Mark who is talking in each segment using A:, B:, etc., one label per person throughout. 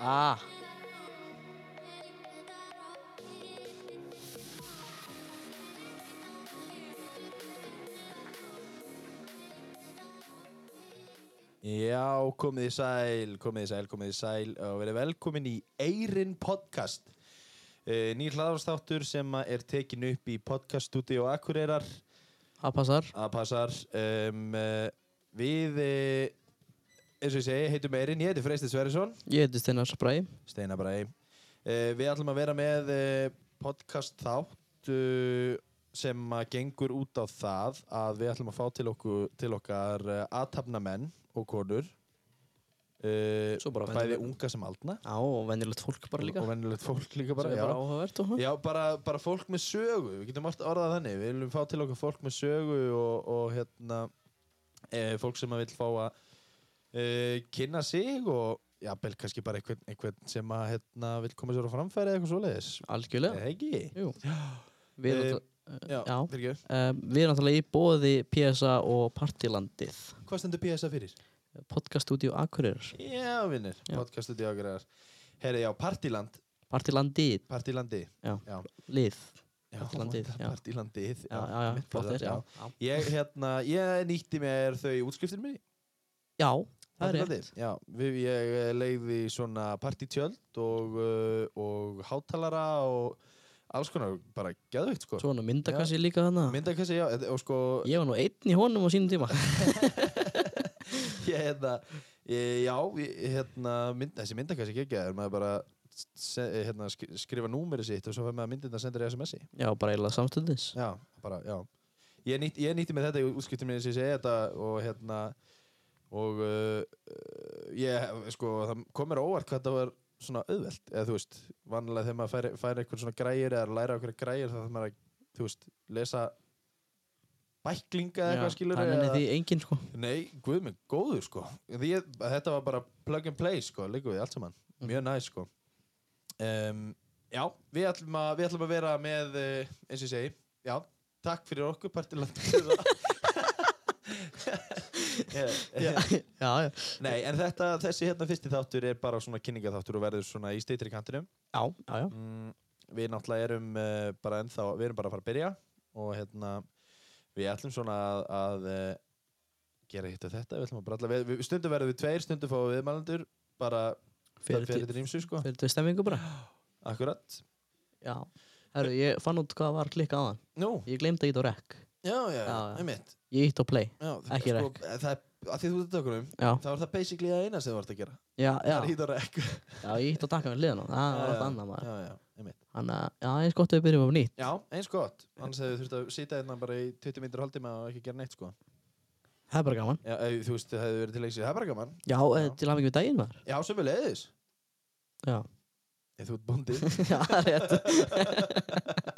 A: Ah.
B: Já, komið í sæl, komið í sæl, komið í sæl og verið velkomin í Eyrin podcast e, Nýr hlaðarstáttur sem að er tekin upp í podcaststudio Akureyrar
A: Það passar.
B: að passar um, Við, e, eins og ég segi, heitum Eyrin, ég heiti Freysti Sverrisson
A: Ég heiti Steinar Spræ.
B: Steinar Bræði e, Við ætlum að vera með e, podcast þátt e, sem að gengur út á það að við ætlum að fá til, okkur, til okkar e, aðtapnamenn og konur e,
A: Svo bara
B: bæði
A: venjuleg-
B: unga sem aldna
A: Já, og venjulegt fólk bara líka.
B: og vennilegt fólk líka bara,
A: Sem er
B: já.
A: bara áhugavert og hvað.
B: Já, bara, bara fólk með sögu, við getum alltaf orðað þannig, við viljum fá til okkar fólk með sögu og, og hérna, e, fólk sem að vil fá að e, kynna sig og já, bel kannski bara einhvern, einhvern sem að hérna, vil koma sér á framfæri eða eitthvað svoleiðis.
A: Algjörlega.
B: Eða ekki?
A: Jú. Við
B: Eh,
A: erum
B: Já,
A: Já.
B: fyrirgefðu.
A: um, við erum náttúrulega í bóði PSA og Partilandið.
B: Hvað stendur PSA fyrir?
A: Podcaststudio Akureyrar.
B: Já, vinnir,
A: Já.
B: podcastu diagræðar. Herri, já, Partiland,
A: Partilandið.
B: Partilandi.
A: Já.
B: Já,
A: Lið.
B: já
A: Partilandið, já.
B: Partilandið,
A: Já, já, já.
B: mitt
A: Flott
B: orðar,
A: er, já. Já,
B: Ég, hérna, ég nýtti mér þau í útskriftinu minni.
A: já það er
B: Partilandi,
A: rétt.
B: Já, við, ég eh, leiði svona partytjöld og, uh, og hátalara og alls konar, bara geðveikt sko.
A: Svona myndakassi líka þannig.
B: Myndakassi, já, þetta- og sko,
A: Ég var nú einn í honum á sínum tíma.
B: ég, hérna, ég, já, ég, hérna, mynd, þessi myndakassi geggjaður, maður bara se, hérna, sk- skrifa númerið sitt og svo fær maður myndirna sendir í SMS-i.
A: Já, bara eiginlega samstundis.
B: Já, bara, já. Ég, nýtt, ég nýtti mér þetta í útskiptum minni sem ég segi þetta og hérna og uh, uh, ég, sko, það kom mér á óvart hvað þetta var svona auðvelt, eða þú veist vanlega þegar maður fær, fær einhvern svona græjur eða læra okkur græjur þá þarf maður að, þú veist, lesa bæklinga eða eitthvað skilur
A: Það er því enginn, sko.
B: Nei, guð minn, góður sko Því ég, Þetta var bara plug and play sko Líku við allt saman, mjög næ sko um, Já, við ætlum, að, við ætlum að vera með eh, eins og ég segi, já, takk fyrir okkur partiland
A: Já, já.
B: Nei, en þetta, þessi hérna fyrsti þáttur er bara svona kynningaþáttur og verður svona í steytri kantinum
A: Já, já, já.
B: mm, Við náttúrulega erum uh, bara ennþá, við erum bara að fara að byrja og hérna, við ætlum svona að, að uh, gera hitt og þetta, við ætlum að bralla við, við, stundum verðum við tveir, stundum fáum við malandur bara
A: Fyrir
B: fyrir, fyrir til rýmsu sko,
A: Fyrir til stemmingu bara.
B: akkurat
A: Já. Herru, ég fann út hvað var klikka á hann.
B: Nú,
A: Ég glemdi að íta á rec.
B: já, já,
A: Já, já.
B: einmitt
A: Ég ítt á play.
B: já,
A: Ekki
B: sko,
A: rekk.
B: Það er, að því þú ert tökunum
A: Já,
B: þá er það basically að eina sem þú ert að gera
A: já,
B: Það
A: já.
B: er hýtt og rekk Já,
A: Já, ég ítt á takka með liðan á. Það var
B: já,
A: allt annað maður.
B: já, já, einmitt
A: Þannig að, já, eins gott að við byrjum á nýtt.
B: Já, eins gott, annars hefur þurft að sitja hérna bara í 20 myndir haldtíma og ekki gera neitt sko
A: Það er bara gaman.
B: Já, ef, þú veist, það hefur verið til leysi, það er bara gaman
A: Já, já.
B: Já.
A: til að mikið við daginn maður.
B: Já, sem við leiðis
A: Já.
B: Þú ert bóndi
A: já, það er rétt.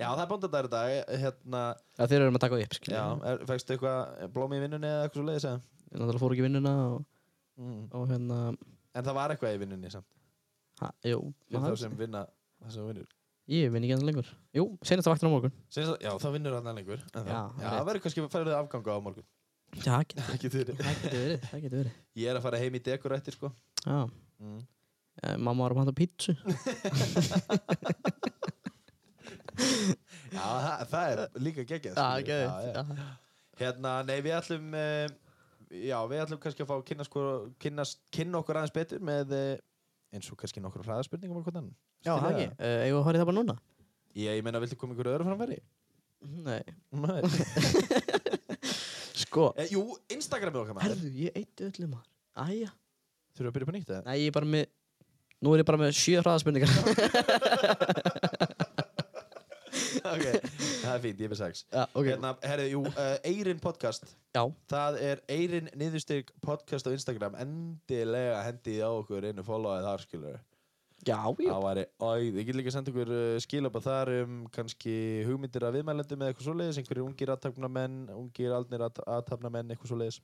B: Já, það er bóndadagur í dag hérna,
A: Já, þeir eru að taka upp,
B: Já,
A: skiljum.
B: er, fækstu eitthvað blómi í vinnunni eða eitthvað svo leiðis eða?
A: Náttúrulega fór ekki í vinnuna og,
B: Mm.
A: og hérna,
B: En það var eitthvað í vinnunni samt
A: ha, jú,
B: Fyrir
A: maður-
B: þá sem vinna það sem þú vinnur
A: ég vinn ekki enn lengur. Jú, senast að vakna á morgun.
B: Sins, Já, þá vinnur hann lengur en þá-
A: Já,
B: já
A: rétt.
B: það verður kannski að fara þau afganga á morgun
A: Já, það getur-
B: Ekki þurri
A: það getur verið, það getur verið.
B: Ég er að fara heim í dekur eftir sko
A: Já.
B: mm.
A: Eh, Mamma var að panta pítsu
B: Já, það, það er líka geggjað skilur. Já, já. Hérna, nei, við ætlum uh, Já, við ætlum kannski að fá að kynna, sko, kynna, kynna okkur aðeins betur með uh, eins og kannski nokkur hraðaspurningum og hvernig
A: Já, það ekki Eh, Eigum við að horfa í það bara núna?
B: Ég, ég meina, viltu koma ykkur öðru framfæri?
A: Nei
B: Nei.
A: Sko
B: e, jú, Instagramið okkar maður.
A: Herðu, ég eitt öllum maður Æja
B: Þurfum við að byrja upp á nýtt eða?
A: Nei, ég er bara með Nú er ég bara með sjö hraðaspurningar
B: ok, það er fínt, ég er með sex.
A: Já, ok
B: Hérna, herri, jú, uh, Eirin podcast.
A: Já,
B: Það er Eirin niðurstyrk podcast á Instagram. Endilega hendið á okkur einu followið þar, skilur.
A: já, já
B: Það væri, oi, þið getur líka að senda okkur uh, skilabað þar um kannski hugmyndir af viðmælendum eða eitthvað svoleiðis, einhverjir ungir aðtapnamenn, ungir aldnir að- aðtapnamenn, eitthvað svoleiðis.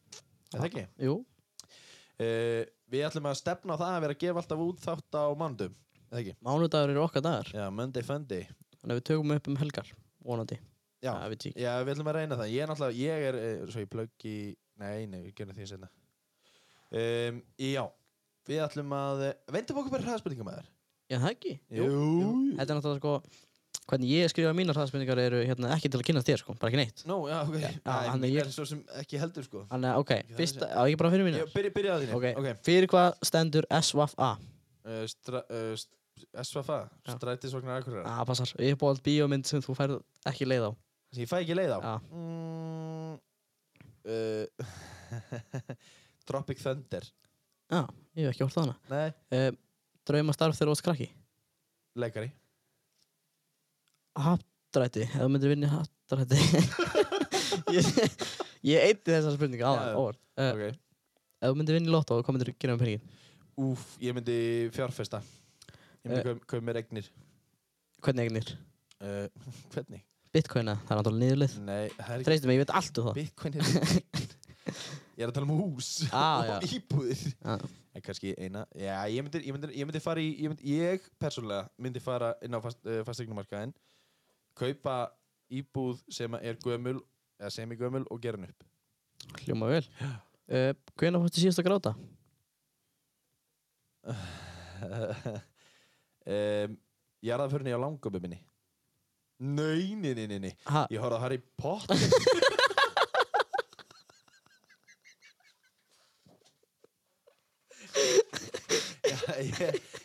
B: Er Það ekki.
A: Jú
B: Uh, við ætlum að stefna á það að vera að gefa alltaf út þátt á mándum. Það ekki.
A: Mánudagur eru okkar dagar
B: Já, Monday Funday
A: Þannig að við tökum upp um helgar Vonandi
B: Já,
A: Það veit ég ekki
B: já við ætlum að reyna það Ég er náttúrulega, ég er, eh, svo ég plögg í Nei, nei, við gerum því sérna um, Ehm, Já, Við ætlum að Vendum okkur bara hraðspurningum að þér
A: Já, það ekki?
B: jú.
A: Þetta er náttúrulega sko, hvernig ég skrifa mínar hraðspurningar eru hérna, ekki til að kynast þér sko, bara ekki neitt.
B: Nú, já, ok
A: já, hann er
B: Nei,
A: ég-
B: ég er svo sem ekki heldur sko
A: Þannig að, ok,
B: það
A: fyrst,
B: sé-
A: á ekki bara fyrir mínar?
B: Ég byrja, byrja á þínu
A: Ok,
B: ok
A: fyrir hvað stendur SVFA?
B: Uh, stra, uh, st- SFA
A: Já.
B: Strætisvagnar Akureyrar
A: Það passar, uppáhald bíómynd sem þú færð ekki leið á.
B: Þessi ég fæ ekki leið á
A: Já.
B: mm, uh, Tropic Thunder
A: Já, ég hef ekki orðað hana.
B: Nei,
A: Uh, drauma starf þegar þú varst krakki?
B: leikari
A: Hattrætti, ef þú myndir vinna í hattrætti. ég, ég eitti þessar spurningar
B: Já,
A: áðan,
B: já.
A: óvart. Uh,
B: okay.
A: Ef þú myndir vinna í lotto, hvað myndir þú gera með peningin?
B: Úf, ég myndi fjárfesta Ég myndi
A: Eh.
B: kaup, kaup mér eignir
A: Hvernig eignir?
B: uh, Hvernig?
A: Bitcoina, það er náttúrulega niðurlið.
B: Nei, herri,
A: Treystum mig, ég veit allt um það.
B: Bitcoin er eign. Ég er að tala um hús
A: Ah,
B: og
A: já.
B: íbúðir
A: Já.
B: En kannski eina Já, ég myndi, ég myndi, ég myndi fara í Ég, myndi, ég persónulega myndi fara inn á fast, uh, fastegnumarkaðin Kaupa íbúð sem er gömul eða sem er gömul og gera hann upp
A: Hljóma vel. Uh, hvenær fórstu síðast að gráta?
B: um, Ég er að fyrir nýja langömmu minni Nei, nei, nei, nei, nei
A: Ha,
B: Ég horfði á Harry Potter Já, ég,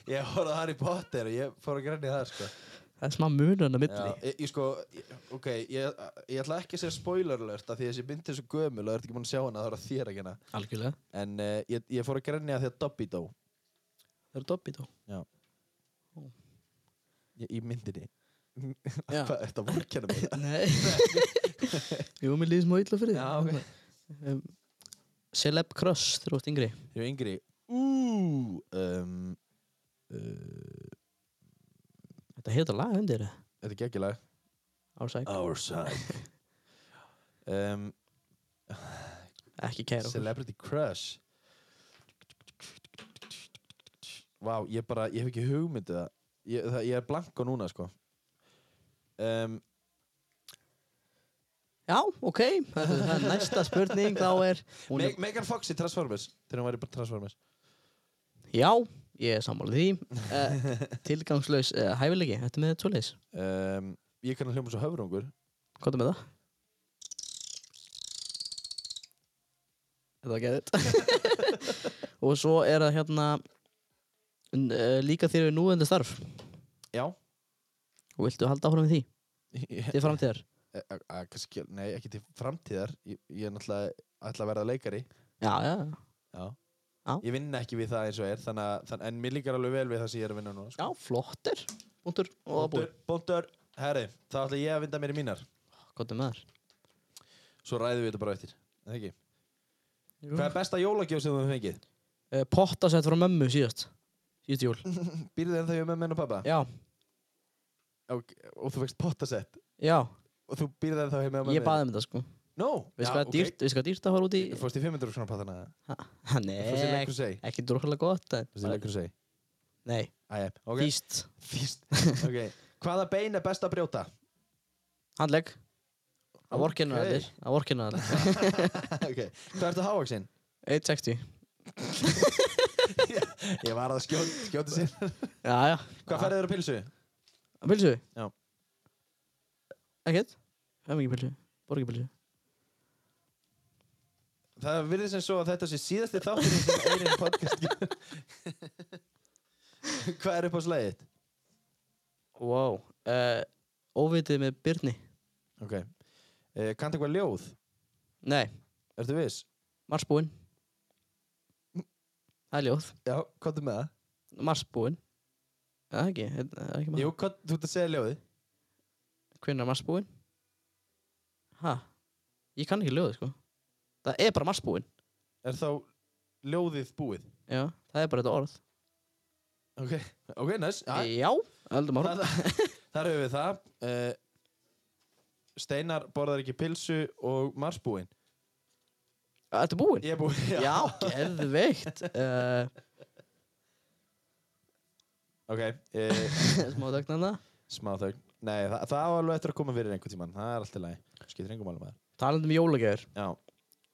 B: ég horfði á Harry Potter og ég fór að græni það sko.
A: það er smá munurinn
B: Já,
A: að milli.
B: ég, ég sko ég, ok, ég, ég ætla ekki að segja spoiler alert af því þessi myndi er svo gömul og er ekki búin að sjá hana þá er það þér ekki hana
A: Algjörlega.
B: en uh, ég, ég fór að græni að því að Dobby dó
A: Það eru dobbi þá.
B: ég, í myndinni
A: Já.
B: Hvað, Þetta voru kennum mig
A: Nei. Jú, mér líður smá illa fyrir
B: Já, ok.
A: Um, Celeb Cross, þegar þú ert yngri.
B: Ég er yngri Ú, um, uh,
A: Þetta heitir lag undir það.
B: Þetta er geggjala
A: Ársæk.
B: Our side um,
A: Ekki kæra okkur.
B: Celebrity crush Vá, ég bara, ég hef ekki hugmyndið það Ég, það, ég er blanko núna, sko um,
A: Já, ok. Það er næsta spurning, þá er... hún
B: Me
A: er-
B: Megan Fox í Transformers Þegar hún væri bara Transformers
A: Já, ég er sammálið því. Uh, tilgangslaus uh, hæfileiki, þetta er með tvoleis.
B: um, Ég kann að hljóma svo höfrungur
A: Hvað er með það? Þetta var geðið. og svo er það hérna n- eh, líka þér við núvendu starf.
B: Já
A: Og viltu halda áfram með því? Til framtíðar?
B: Eh, eh, eh, kannski, Nei, ekki til framtíðar Ég, ég er náttúrulega ætla að verða leikari
A: Já, já.
B: Já
A: Já.
B: Ég vinn ekki við það eins og er þannig, að- þannig, En mér líkar alveg vel við það sem ég er að vinna núna sko.
A: Já, flottur. Búntur og búið.
B: Bóndur, bóndur, herri, þá ætla ég að vinda mér í mínar
A: Hvað er með þar?
B: Svo ræðum við þetta bara eftir Eða ekki? Hvað er besta jólagjöf sem þú hefur fengið?
A: Eh, Pottasett frá mömmu síðast. Síðast jól.
B: Býrðu ennþá ég með menn og pappa?
A: Já,
B: Og, og þú fegst pottasett
A: já.
B: Og þú býrðu ennþá ég með
A: Ég baði um þetta sko.
B: No
A: Veist hvað er dýrt, veist hvað er dýrt að fara út í?
B: Þú fórst í 500 svona pattana
A: Ha,
B: Þú fórst í
A: Nei,
B: leikur seg
A: ekki drúkkulega gott. en-
B: Þú fórst í leikur seg
A: Nei,
B: Æja, ok
A: dýst.
B: Fýst Ok Hvaða bein er best að brjóta?
A: Handlegg. Að vorkina
B: Ok.
A: okay. allir, að vorkina allir.
B: ok Hvað ertu hávaksinn?
A: 1.60.
B: Ég var að skjóta, skjóta sér
A: Já, já.
B: Hvað færðu þér á pilsu?
A: Að pilsu?
B: Já.
A: Ekkert? Það er mikið pilsu. Borgi pilsu.
B: Það virðist sem svo að þetta sé síðasti þáttur sem einin podcast gerir. Hvað er upp á slæðið?
A: Wow. Uh, óvitið með Byrni.
B: Ok. Uh, Kanntu eitthvað ljóð?
A: Nei,
B: Ertu viss?
A: Marsbúinn. Það er ljóð.
B: Já, komdu með það.
A: Marsbúinn. Er Það ekki, Er það ekki maður.
B: Jú, kom, þú ert að segja ljóðið.
A: Hvernig er Marsbúinn? Ha? Ég kann ekki ljóðið, sko. Það er bara Marsbúinn.
B: Er þá ljóðið búið?
A: Já, það er bara þetta orð.
B: Ok, ok, næs. Nice.
A: Já, öldum orð.
B: Þar, þar höfum við það. Uh, Steinar borðar ekki pilsu og marsbúinn.
A: Þetta er búinn.
B: Ég er búinn, já.
A: Já, geðveikt. Uh,
B: Ok, uh,
A: smá dögnanda.
B: smá þögn. Nei, það, það var alveg eftir að koma fyrir einhvern tímann. Það er alltaf læg. Skiptir engum alveg maður.
A: Talandi um jólagjafir.
B: Já,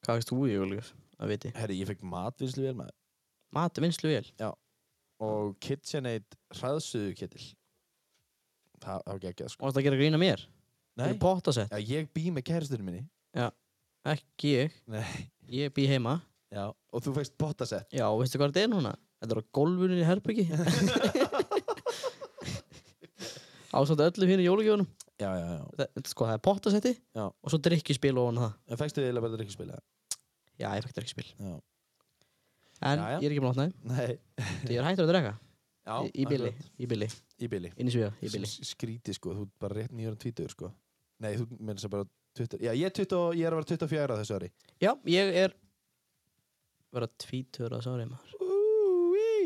A: Hvað veist þú í jólagjafir? Að viti.
B: herri, ég fekk matvinnslu vel maður.
A: matvinnslu vel
B: og KitchenAid hraðsuðu kittil það það var geggjað sko
A: og það gera grína mér
B: Nei,
A: fyrir pottasett,
B: já, ég bý með kærastunum minni
A: ekki ég
B: Nei.
A: ég bý heima,
B: já. og þú fæst bottasett
A: já, veistu hvað þetta er núna? þetta er á gólfunni í herbyggi ásamt öllu hérna í jólugjónum
B: já, já, já
A: þetta sko, það er pottasetti
B: Já.
A: og svo drikkjuspil ofan á það
B: en fæstu þið eiginlega bara drikkspila
A: já, ég fekk drikkjuspil
B: já.
A: en
B: Jæja.
A: ég er ekki búin að opna
B: Nei.
A: þeim ég er hættur að drekka
B: Já,
A: í, í bíli,
B: akkurat.
A: í bíli,
B: í bíli
A: inn í svíða í bíli.
B: S- skríti sko, þú ert bara rétt nýjörn tvítur sko nei, þú meður þess að bara 20, já, ég er, 20, og- ég er að vera 24 á þessu ári
A: já, ég er vera tvítur að sári maður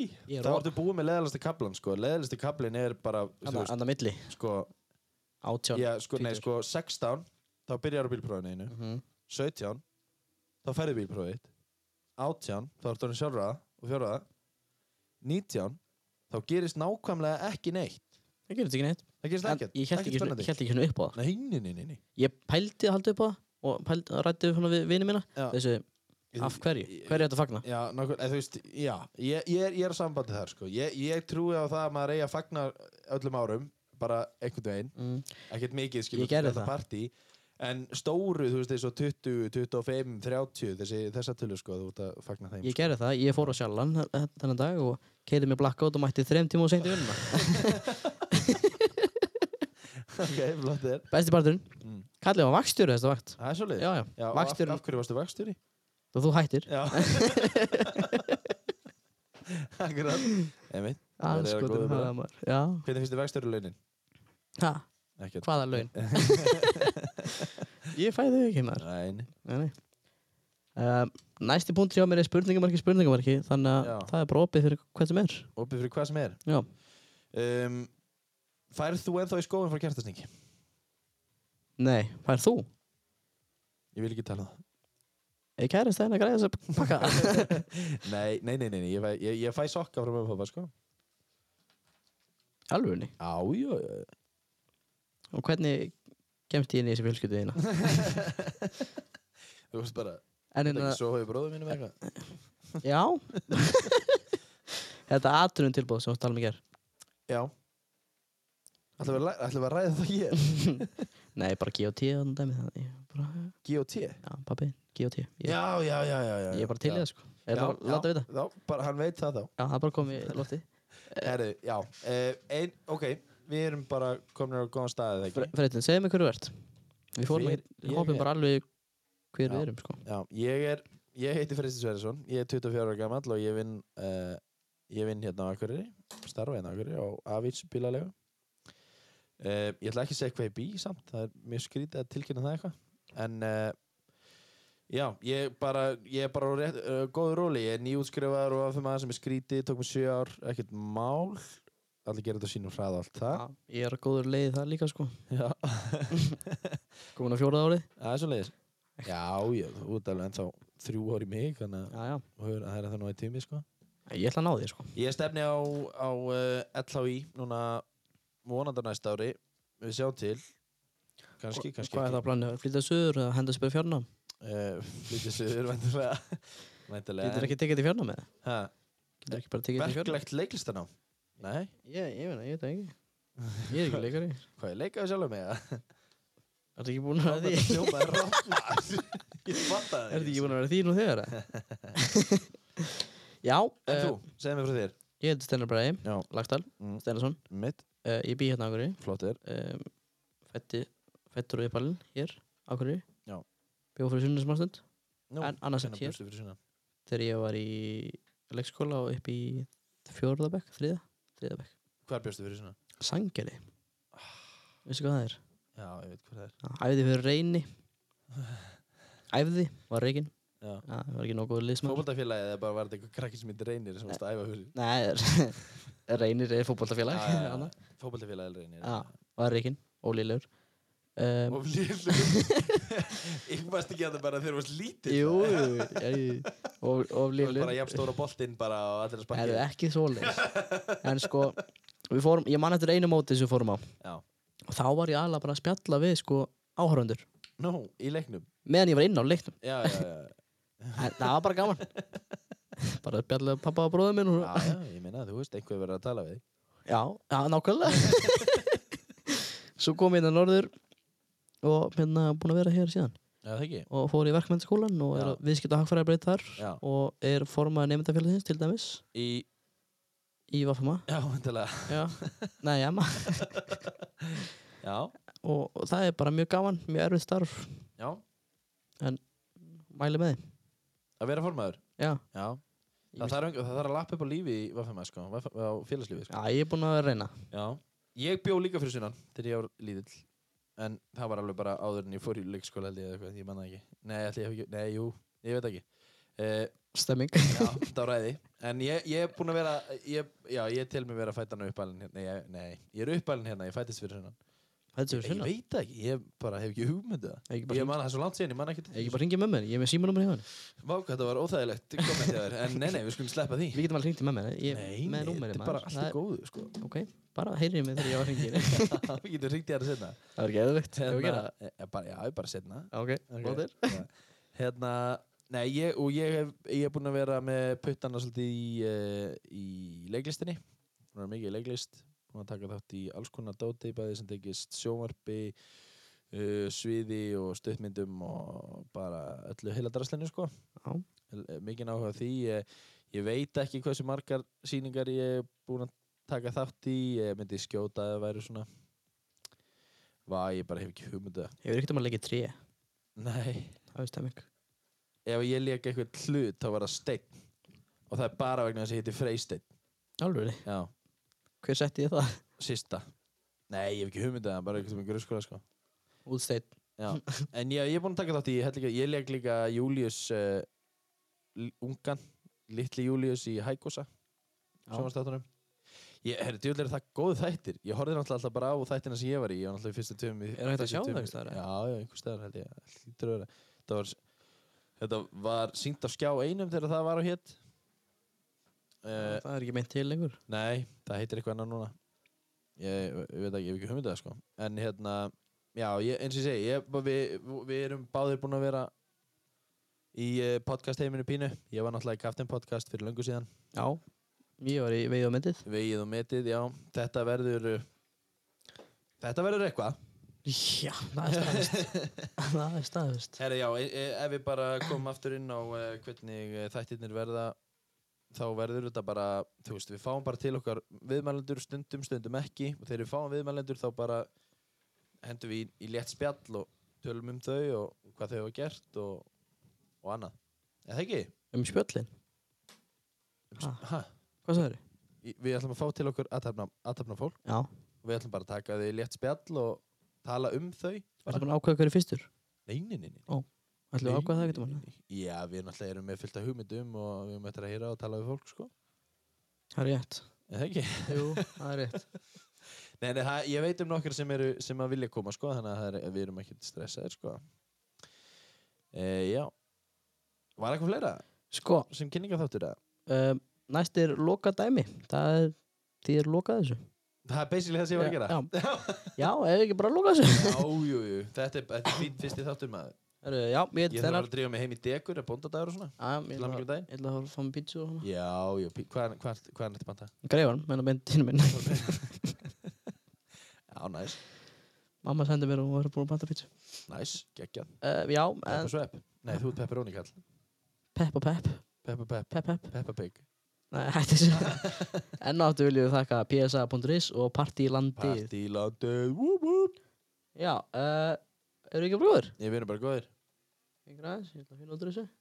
B: Úí.
A: Ég er
B: þá
A: rock.
B: ertu búið með leðalasta kaplan sko leðalasta kaplin er bara þú
A: Anna,
B: veist,
A: anna milli,
B: sko,
A: átján
B: já, sko, nei,
A: tvítugur.
B: sko 16, þá byrjar á bílprófinu einu
A: Mhm.
B: 17, þá færðu bílprófið þitt. 18, þá ertu orðin sjálfra og fjórða 19, þá gerist nákvæmlega ekki neitt
A: það gerist ekki neitt
B: það gerist
A: en
B: ekkert,
A: ég held
B: ekkert
A: ekki, svona-
B: spennandi
A: ég hélt ekki svona upp á það
B: nei, nei, nei, nei, nei.
A: ég pældi að halda upp á það og pældi að rætti svona við vinið mína
B: Já.
A: þessu, af hverju, hverju þetta fagna
B: já, nokkuð, eða, þú veist, já, ég, ég, er, ég er á sambandi þar sko. ég, ég trúi á það að maður eigi að fagna öllum árum, bara einhvern veginn
A: mm.
B: ekkert mikið, skilur,
A: Ég gerði
B: þetta
A: það.
B: partí en stóru, þú veist, eins og 20, 25, 30, þessi, þessa tölu sko, þú ert að fagna þeim
A: ég gerði það, ég fór á sjallan þennan dag og keiri mig blackout og mætti þrem tíma og seint í vinnuna
B: sko. ok, flott þér
A: besti parturinn,
B: Mm.
A: kallið var vakstjóri þessa vakt
B: það er svo
A: já, já,
B: Já, og af,
A: Vagnstjórinn-
B: af hverju varstu vakstjóri?
A: og þú hættir
B: Já Akkurat Einmitt. Verið að
A: Andskotin
B: góðu með
A: hagaði maður. Já.
B: Hvernig finnst þið vakstjóri launin?
A: Ha,
B: Ekkert
A: hvaða laun? ég fæði þau ekki maður.
B: Nein
A: Nei, nei. Um, næsti punkt hjá mér er spurningamarki, spurningamarki. Þannig að
B: Já.
A: það er bara opið fyrir hvað sem er.
B: Opið fyrir hvað sem er
A: Já.
B: um, Færð þú ennþá í skóin frá kertasningi?
A: Nei, hvað er þú?
B: Ég vil ekki tala um
A: Er kærist það að græða þess að pakka?
B: það Nei, nei, nei, nei, nei. Ég, fæ, ég, ég fæ sokka frá mömmu pappa sko
A: Alvörni.
B: Á, jú, jú
A: Og hvernig kemst ég inn í þessi fjölskyldu þína?
B: Þú veist bara
A: En
B: Þetta
A: hérna,
B: ekki svo hóði bróðum mínum eitthvað
A: já. Þetta aðtunum tilbúð sem við talum um í ger.
B: Já Ætlum við að læ- ætlum við að ræða það hér
A: Nei, bara G.O.T. og þannig dæmi. Þannig, ég bara,
B: G.O.T.
A: já, pappi, G.O.T. Ég,
B: Já, já, já, já, já
A: ég er bara til í það, sko. Er það að láta við það?
B: Já, bara hann veit það þá
A: Já, það bara kom í loftið.
B: Herru, já, uh, ein, ok, við erum bara komin á góðan staðið, ekki?
A: Freitin, segðu mig hverju ert Við fórum
B: Hver-
A: Fyr,
B: ég
A: við hoppum
B: er-
A: bara alveg hver
B: Já.
A: við erum sko
B: Já, ég er, ég heiti Fristin Sverjesson, ég er 24 ára gammal og ég vinn, uh, ég vinn hérna á Akureyri, starfa hérna á Akureyri á Avits bílalega. Uh, ég ætla ekki að segja hvað ég bý samt, það er mjög skrítið að tilkynna það eitthvað, en uh, já, ég bara, ég er bara á rétt, uh, góðu róli, ég er nýútskrifaður og aðfum aðeins sem er skrítið, tók mér 7 ár, ekkert mál, allir gera þetta á sínum hraða og allt það.
A: Ég er á góður leiði það líka sko
B: Já.
A: Komin á fjórað árið
B: Það er svo leiðis Já, ég, þú ert alveg ennþá þrjú ár í mig þannig að
A: já, já.
B: þú hefur- það er það nú í tími sko.
A: Ég ætla að ná þér sko
B: Ég stefni á, á uh, LHI núna vonandar næsta ári við sjáum til kannski, kannski
A: Hvað er það að plana? Flytta söður eða henda spyrir fjárnám?
B: Uh, Lítið sögur væntanlega Væntanlega
A: Getur ekki tekið til fjárnám eða?
B: ha,
A: Getur ekki bara tekið til fjárnám?
B: Verklegt leiklistanám Nei,
A: Ég, ég meina, ég veit það ekki Ég er ekki leikari Er
B: hvað ég leikaði sjálf með það?
A: þetta ekki búin að vera því?
B: Hljómaði rátt Ég fatt
A: Er
B: að
A: þetta ekki búin að vera því nú þegar? eða? já,
B: En
A: eh,
B: þú, segðu mér frá þér
A: ég heiti Steinar Bræði
B: Já,
A: Lagdal,
B: Mm.
A: Steinarsson
B: mitt,
A: uh, Ég bý hérna á hverju
B: flott er
A: um, fætti, fættur og uppalinn hér á hverju
B: Já.
A: bjóð fyrir sunni smástund
B: Nú,
A: en annars er
B: hvenær
A: hér
B: bjóstu fyrir sunnan?
A: þegar ég var í leikskóla og upp í fjórðabekk, þriða, þriðabekk
B: Hvar bjóstu fyrir sunnan?
A: sangjari veistu hvað það er?
B: Já, ég veit hvað það er
A: Já, Æfði fyrir reyni æfði, var reikin
B: Já.
A: Já, það var ekki nokkuð liðsmaður
B: Fótboltafélagið eða bara var þetta eitthvað krakki sem heitir reynir sem varst að æfa fyrir
A: Nei, er- reynir er fótboltafélag
B: Já, já, já.
A: Eh, annað. Ah.
B: Fótboltafélagið reynir
A: Já, var reikin, ólílegur um,
B: Og lillur Ég varst ekki að það bara þegar þú varst lítið
A: Jú, jú, ég- of, of
B: Þú varst
A: lílegur
B: bara jafn stóra boltinn bara og allir að
A: Það
B: sparki
A: eru ekki svoleiðis En sko, við fórum, ég man eftir einu móti sem við fórum á
B: Já.
A: Og þá var ég alveg bara að spjalla við sko áhörundur
B: Nú, í leiknum
A: Meðan ég var inn á leiknum
B: Já, já, já
A: En Það var bara gaman bara spjallið við pappa og bróðum minn og...
B: Já, já, ég meina, þú veist, einhver verður að tala við þig.
A: Já, já, nákvæmlega Svo kom ég hérna norður og hérna búin að vera hér síðan
B: Já, það ekki.
A: og fór í verkmyndaskólan og er
B: Já.
A: að viðskipta hagfæra breyt þar
B: Já.
A: og er formaður nefndafélagsins til dæmis
B: Í,
A: í Vafama
B: já, vantilega.
A: Já, nei, emma
B: Já,
A: og, og það er bara mjög gaman, mjög erfið starf
B: já,
A: mæli með því,
B: að vera formaður.
A: já
B: Já.
A: Ég
B: Það þarf, einhver- það þarf að lappa upp á lífi í Vafema, sko, Vaf- á félagslífi, sko.
A: Já, ég er búin að reyna
B: Já. Ég bjó líka fyrir sunnan, þegar ég var lítill. En það var alveg bara áður en ég fór í leikskóla held ég eða eitthvað, ég manna ekki. Nei, ætli ég hef ekki, nei, jú, ég veit ekki. Uh,
A: Stemming
B: já, það var ræði. En ég, ég er búinn að vera, ég, já, ég tel mig vera fættan og uppalinn hérna. Nei, ég- nei, ég er uppalinn hérna, ég fættist fyrir sunnan.
A: Þetta er
B: Ég
A: svona
B: veit það ekki, ég bara hef ekki hugmyndu það.
A: Ekki
B: Ég
A: bara,
B: manna það er svo langt síðan, ég manna ekki
A: hring- ekki bara ringið með mér, ég er með símanúmer í hann
B: Vá, hvað þetta var óþægilegt kommentið þér, en nei, nei, við skulum sleppa því.
A: Við getum alveg hringt í með mér ég,
B: Nei, nei,
A: með númerið,
B: þetta er
A: maður.
B: bara allt í
A: Það
B: góðu, sko.
A: er- Ok, bara heyrið mig þegar ég var hringið
B: Við getum ringt í þér setna.
A: Það er geðvikt, hefur við gera
B: Hérna, e- e- bara, já, ég bara setna.
A: það Ok,
B: Ok.
A: bóðir
B: Já. Hérna, nei, ég, og ég hef, ég hef búin að vera með puttana svolítið í, uh, í leiklistinni. Búin að vera mikið í leiklist. Búin að taka þátt í alls konar dóti, bæði sem tekist sjónvarpi, uh, sviði og stuttmyndum og bara öllu heila draslinu, sko.
A: Já.
B: L- eh, Mikið náhuga því. Ég, ég veit ekki hversu margar sýningar ég hef búin að taka þátt í. Ég myndi skjóta að það væri svona. Vá, ég bara hef ekki hugmyndu.
A: Hefur ekkert um að leggja tré,
B: Nei.
A: það er stemming
B: ef ég leik eitthvað hlut þá var það steinn og það er bara vegna þess að ég heiti Freysteinn
A: Alveg,
B: já,
A: hver setti ég það?
B: sista nei, ég hef ekki hugmyndið það, bara eitthvað með grunnskóla sko.
A: Útsteit
B: já, en ég, ég er búinn að taka þátt í ég, líka, ég leik líka Július uh, ungan, litli Július í Hækosa
A: Já.
B: sjónvastáttunum ég, herri, djúlega er það góð þættir ég horfði náttúrulega alltaf bara á þættina sem ég var í ég var náttúrulega í fyrstu tveim í-
A: Er hægt að
B: fyrstu
A: sjá
B: tveim-
A: það einhvers staðar, eða?
B: já, já, einhvers staðar held ég Hlýtur að vera. þetta var, þetta var sínt á skjá einum þegar það var á hétt uh,
A: Það er ekki meint til lengur
B: Nei, það heitir eitthvað annar núna ég, ég veit ekki, ég hef ekki hugmyndið það sko En hérna, já, ég, eins og ég segi ég, bara- Við vi erum báðir búin að vera Í eh, podcast heiminu pínu Ég var náttúrulega í Captain Podcast fyrir löngu síðan
A: Já, ég var í veið á myndið
B: Vegið og metið, já Þetta verður eh, Þetta verður eitthvað
A: Já, það er staðist Það er staðist
B: Herra, já, e e ef við bara komum aftur inn á uh, hvernig eh, þættirnir verða þá verður þetta bara, þú veist, við fáum bara til okkar viðmælendur stundum, stundum ekki og þegar við fáum viðmælendur þá bara hendum við í, í létt spjall og tölum um þau og hvað þau hafa gert og, og annað. Er það ekki?
A: Um spjöllin,
B: Ha.
A: Ha. hvað sagður þið?
B: Í- Við ætlum að fá til okkur aðtapna, aðtapna fólk
A: Já,
B: og við ætlum bara að taka þau í létt spjall og tala um þau.
A: ertu búin að ákveða hverju fyrstur?
B: Neyninni.
A: Ætlum við að ákveða það getum hann?
B: Nei, nei, nei. Já, við náttúrulega erum með fullt af hugmyndum og við erum eftir að heyra og tala við fólk, sko.
A: Það er rétt.
B: Er það ekki?
A: Jú, það er rétt.
B: Nei, nei, það, ég veit um nokkra sem, eru, sem að vilja koma, sko, þannig að það er, við erum ekkert stressaðir, sko. E, já. Var eitthvað fleira
A: Sko,
B: sem kynninga þáttur það?
A: um, næst er loka dæmi. Það er, því er lokað þessu.
B: Það er basically það sem ég var að gera.
A: Já, já ef ekki bara lokað þessu.
B: Já, jú, jú. Þetta er, þetta er fín fyrsti þáttur maður.
A: Heru,
B: Ég
A: já, ég heiti
B: þarf að
A: Stenar.
B: fara að drífa mig heim í degur, er bóndadagur og svona.
A: Já, Ég
B: Til hamingju
A: ætla að
B: með daginn.
A: ég ætla að fara að fá mér pítsu og hana.
B: Já, jú, pí- hvað hvað- hvað er þetta banta?
A: Greifan, menn að bendinu minn.
B: Já, næs,
A: Mamma sendi mér og var búin að panta pítsu.
B: næs, geggjað.
A: Uh, já,
B: Peppa
A: en
B: Svepp. Nei, þú ert pepperoni kall.
A: pepp og pepp.
B: Peppa Pepp.
A: Pepp, pepp.
B: Peppa Pig.
A: Nei, hætti þessu. Enn áttu viljum við þakka psa.is og partílandið.
B: Partílandið, wúp wúp
A: Já, uh, eru ekki brúður?
B: Ég verður bara góðir
A: Ég græðis, ég ætla að finna út úr þessu.